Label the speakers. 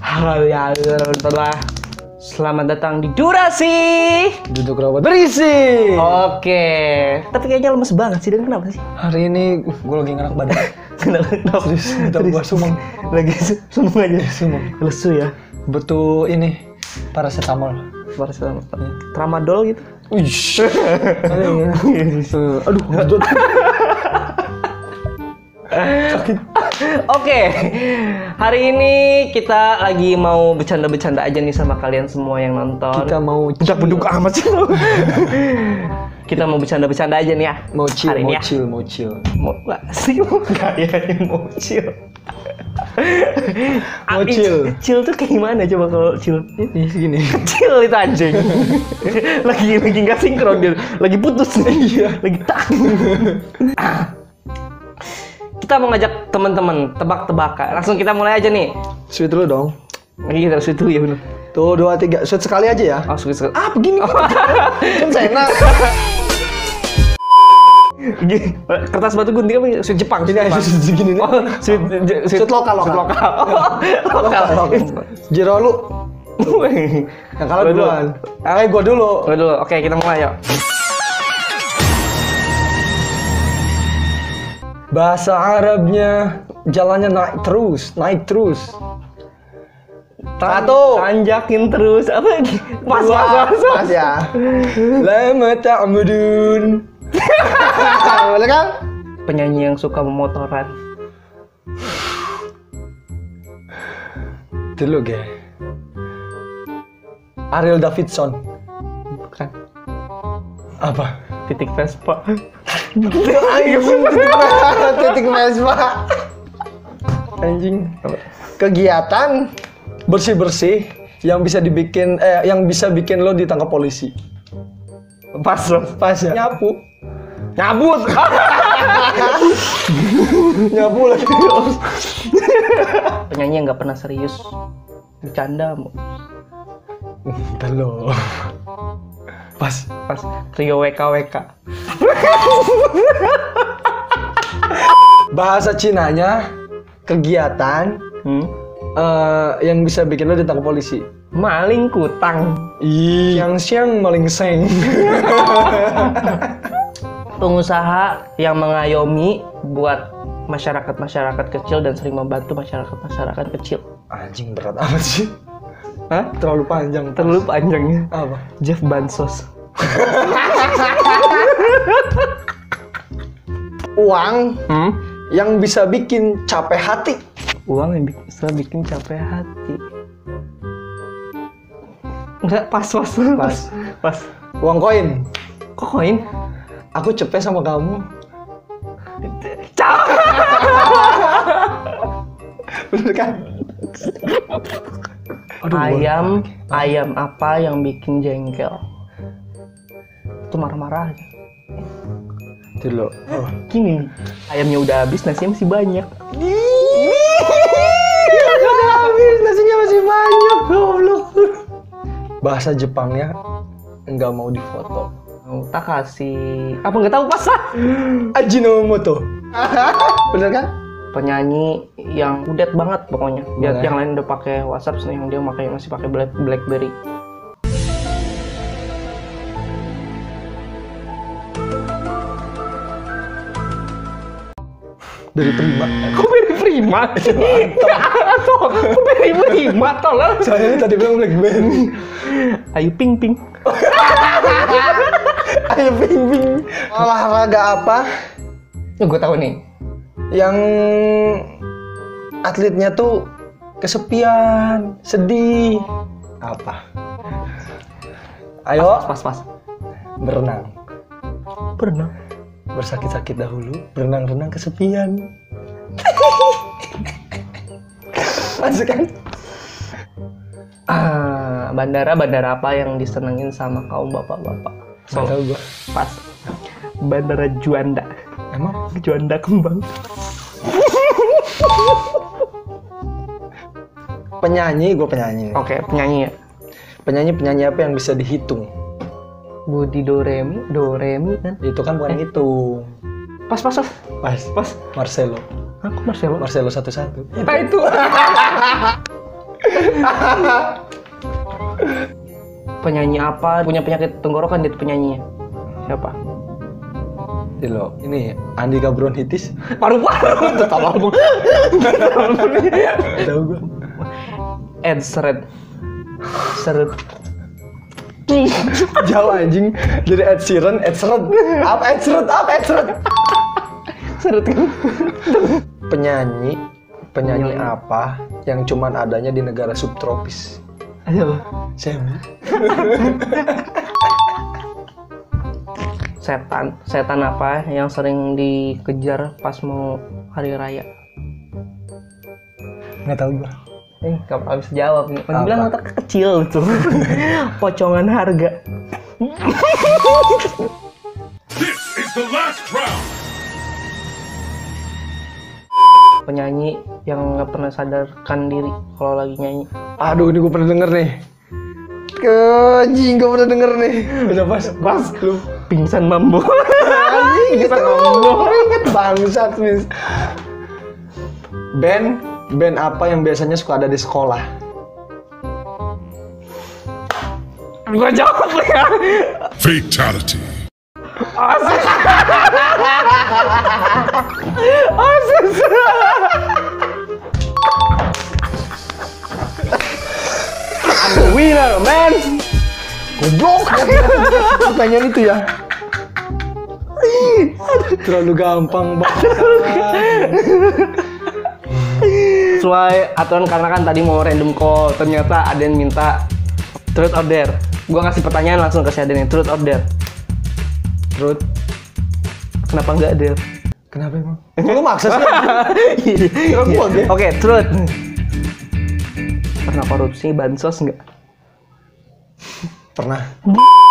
Speaker 1: Alhamdulillah. ya, Selamat datang di Durasi.
Speaker 2: Duduk rapat berisi.
Speaker 1: Oke. Tapi kayaknya lemes banget sih. Dan kenapa sih?
Speaker 2: Hari ini gue lagi ngerak badan.
Speaker 1: Kenapa? kenapa?
Speaker 2: Serius, bentar gua Iya, sumeng.
Speaker 1: Lagi su- sumeng aja.
Speaker 2: Sumeng.
Speaker 1: Lesu ya.
Speaker 2: Butuh ini paracetamol.
Speaker 1: Paracetamol. Tramadol gitu.
Speaker 2: Uish. ya. Aduh, gedut. Sakit.
Speaker 1: Oke, hari ini kita lagi mau bercanda-bercanda aja nih sama kalian semua yang nonton.
Speaker 2: Kita mau
Speaker 1: Bentar beduk amat sih lu. Kita mau bercanda-bercanda aja nih ya.
Speaker 2: mau chill,
Speaker 1: Hari
Speaker 2: mau
Speaker 1: ini ya.
Speaker 2: chill, mau chill.
Speaker 1: Mau nggak sih mau nggak ya ini mau chill.
Speaker 2: Mau
Speaker 1: Ah, ini
Speaker 2: chill.
Speaker 1: Chill tuh kayak gimana coba kalau chill?
Speaker 2: Ini segini.
Speaker 1: Chill itu anjing. lagi lagi nggak sinkron dia. Lagi putus nih.
Speaker 2: Iya.
Speaker 1: lagi tak. Ah. kita mau ngajak teman-teman tebak-tebakan. Langsung kita mulai aja nih.
Speaker 2: Sweet dulu dong.
Speaker 1: Lagi kita situ ya Oh, benar.
Speaker 2: Tuh, dua, tiga. Sweet sekali aja ya.
Speaker 1: Langsung kita
Speaker 2: Ah, begini. Kan saya enak.
Speaker 1: Gini, kertas batu gunting apa sweet Jepang
Speaker 2: Ini aja
Speaker 1: Jepang.
Speaker 2: segini nih.
Speaker 1: oh sweet je- sweet
Speaker 2: Sweet lokal, lokal.
Speaker 1: lokal Oh, lokal
Speaker 2: Jero lu. Yang kalah
Speaker 1: Lu dulu.
Speaker 2: duluan. Eh, gua dulu.
Speaker 1: Tunggu dulu oke kita mulai yuk
Speaker 2: Bahasa Arabnya jalannya naik terus, naik terus.
Speaker 1: Tan-
Speaker 2: Satu.
Speaker 1: tanjakin terus apa lagi pas
Speaker 2: Dua.
Speaker 1: pas pas, pas.
Speaker 2: Pas ya. Lama ta'mudun. Boleh kan?
Speaker 1: penyanyi yang suka memotoran
Speaker 2: Dulu ge. Ariel Davidson.
Speaker 1: bukan
Speaker 2: Apa?
Speaker 1: titik Vespa
Speaker 2: Anjing, titik Vespa, titik Vespa. Anjing. Kegiatan bersih-bersih yang bisa dibikin eh yang bisa bikin lo ditangkap polisi.
Speaker 1: pas loh
Speaker 2: Pas ya. Nyapu.
Speaker 1: nyabut
Speaker 2: Nyapu lagi.
Speaker 1: penyanyi yang nggak pernah serius bercanda mu.
Speaker 2: Bentar lo. Pas.
Speaker 1: pas trio WK WK
Speaker 2: Bahasa Cinanya kegiatan
Speaker 1: hmm?
Speaker 2: eh, yang bisa bikin lo ditangkap polisi.
Speaker 1: maling kutang
Speaker 2: Yang siang maling seng.
Speaker 1: pengusaha yang mengayomi buat masyarakat-masyarakat kecil dan sering membantu masyarakat-masyarakat kecil.
Speaker 2: Anjing berat amat sih.
Speaker 1: Hah?
Speaker 2: Terlalu panjang.
Speaker 1: Terlalu panjangnya.
Speaker 2: apa?
Speaker 1: Jeff Bansos.
Speaker 2: Uang
Speaker 1: Hmm?
Speaker 2: yang bisa bikin capek hati.
Speaker 1: Uang yang bikin, setelah bikin capek hati. Enggak, pas, pas, pas, pas.
Speaker 2: Uang koin.
Speaker 1: Kok koin?
Speaker 2: Aku cepet sama kamu.
Speaker 1: Capek!
Speaker 2: Bener kan? Aduh,
Speaker 1: Ayam, ayam apa yang bikin jengkel? Itu marah-marah aja.
Speaker 2: Dulu.
Speaker 1: Gini, ayamnya udah habis, nasinya masih banyak.
Speaker 2: Udah habis, nasinya masih banyak, goblok. Bahasa Jepangnya nggak mau difoto.
Speaker 1: Mau tak kasih apa nggak tahu pas lah.
Speaker 2: Ajinomoto. Bener kan?
Speaker 1: Penyanyi yang kudet banget pokoknya. Dia
Speaker 2: Boleh.
Speaker 1: yang lain udah pakai WhatsApp, yang dia pakai masih pakai Black BlackBerry.
Speaker 2: Dari terima.
Speaker 1: Kok beri prima? Atau kok beri prima tolong.
Speaker 2: Saya tadi bilang Blackberry.
Speaker 1: Ayu ping ping.
Speaker 2: Ayo bing bing. Olahraga apa
Speaker 1: Oh, gue tahu nih.
Speaker 2: yang atletnya tuh kesepian, sedih? Apa? Ayo
Speaker 1: Pas pas.
Speaker 2: berenang.
Speaker 1: Berenang.
Speaker 2: Bersakit-sakit dahulu, berenang-renang kesepian. Masuk kan?
Speaker 1: Ah, bandara bandara apa yang disenengin sama kaum bapak-bapak?
Speaker 2: Nggak tahu gua.
Speaker 1: Pas. Bandara Juanda.
Speaker 2: Emang
Speaker 1: Juanda kembang.
Speaker 2: penyanyi gue penyanyi. nih.
Speaker 1: Oke, penyanyi ya.
Speaker 2: Penyanyi penyanyi apa yang bisa dihitung?
Speaker 1: Budi Doremi, Doremi kan?
Speaker 2: Itu kan bukan hitung.
Speaker 1: Pas pas pas.
Speaker 2: Pas,
Speaker 1: Pas.
Speaker 2: Marcelo.
Speaker 1: Aku Marcelo. Ah,
Speaker 2: Marcelo satu-satu.
Speaker 1: Apa itu? Penyanyi apa punya penyakit tenggorokan dia tuh penyanyinya? Siapa?
Speaker 2: Ini loh, ini Andika Bronhitis.
Speaker 1: Paru-paru.
Speaker 2: Tetap album. Tahu gua.
Speaker 1: Ed Seret. Seret.
Speaker 2: Jauh anjing dari Ed Sheeran, Ed Sheeran. Apa Ed Sheeran? Apa Ed Sheeran?
Speaker 1: Seret kan?
Speaker 2: Penyanyi penyanyi
Speaker 1: Penyanyi.
Speaker 2: apa yang cuman adanya di negara subtropis?
Speaker 1: Ayo.
Speaker 2: Semi.
Speaker 1: Setan, setan apa yang sering dikejar pas mau hari raya?
Speaker 2: Nggak tahu gua.
Speaker 1: Eh, gak habis jawab nih. Kan
Speaker 2: Apa?
Speaker 1: bilang otak kecil itu. Pocongan harga.
Speaker 3: This is the last round.
Speaker 1: Penyanyi yang nggak pernah sadarkan diri kalau lagi nyanyi.
Speaker 2: Aduh, ini gua pernah denger nih. Anjing, gua pernah denger nih. Udah pas, pas lu.
Speaker 1: Pingsan mambo.
Speaker 2: Anjing, kita
Speaker 1: ngomong.
Speaker 2: Ingat bangsat, Miss. Band, band apa yang biasanya suka ada di sekolah?
Speaker 1: Gua jawab ya.
Speaker 3: Fatality.
Speaker 1: Osis. Osis. I'm the winner, man.
Speaker 2: Goblok. Pertanyaan itu ya. Terlalu gampang banget.
Speaker 1: Sesuai aturan karena kan tadi mau random call, ternyata ada yang minta truth or dare. Gua kasih pertanyaan langsung ke si Aden truth or dare.
Speaker 2: Terus,
Speaker 1: Kenapa nggak dare?
Speaker 2: kenapa emang? Kok lu maksa sih? Kira gua, Ge.
Speaker 1: Oke, truth. Pernah korupsi bansos nggak?
Speaker 2: Pernah.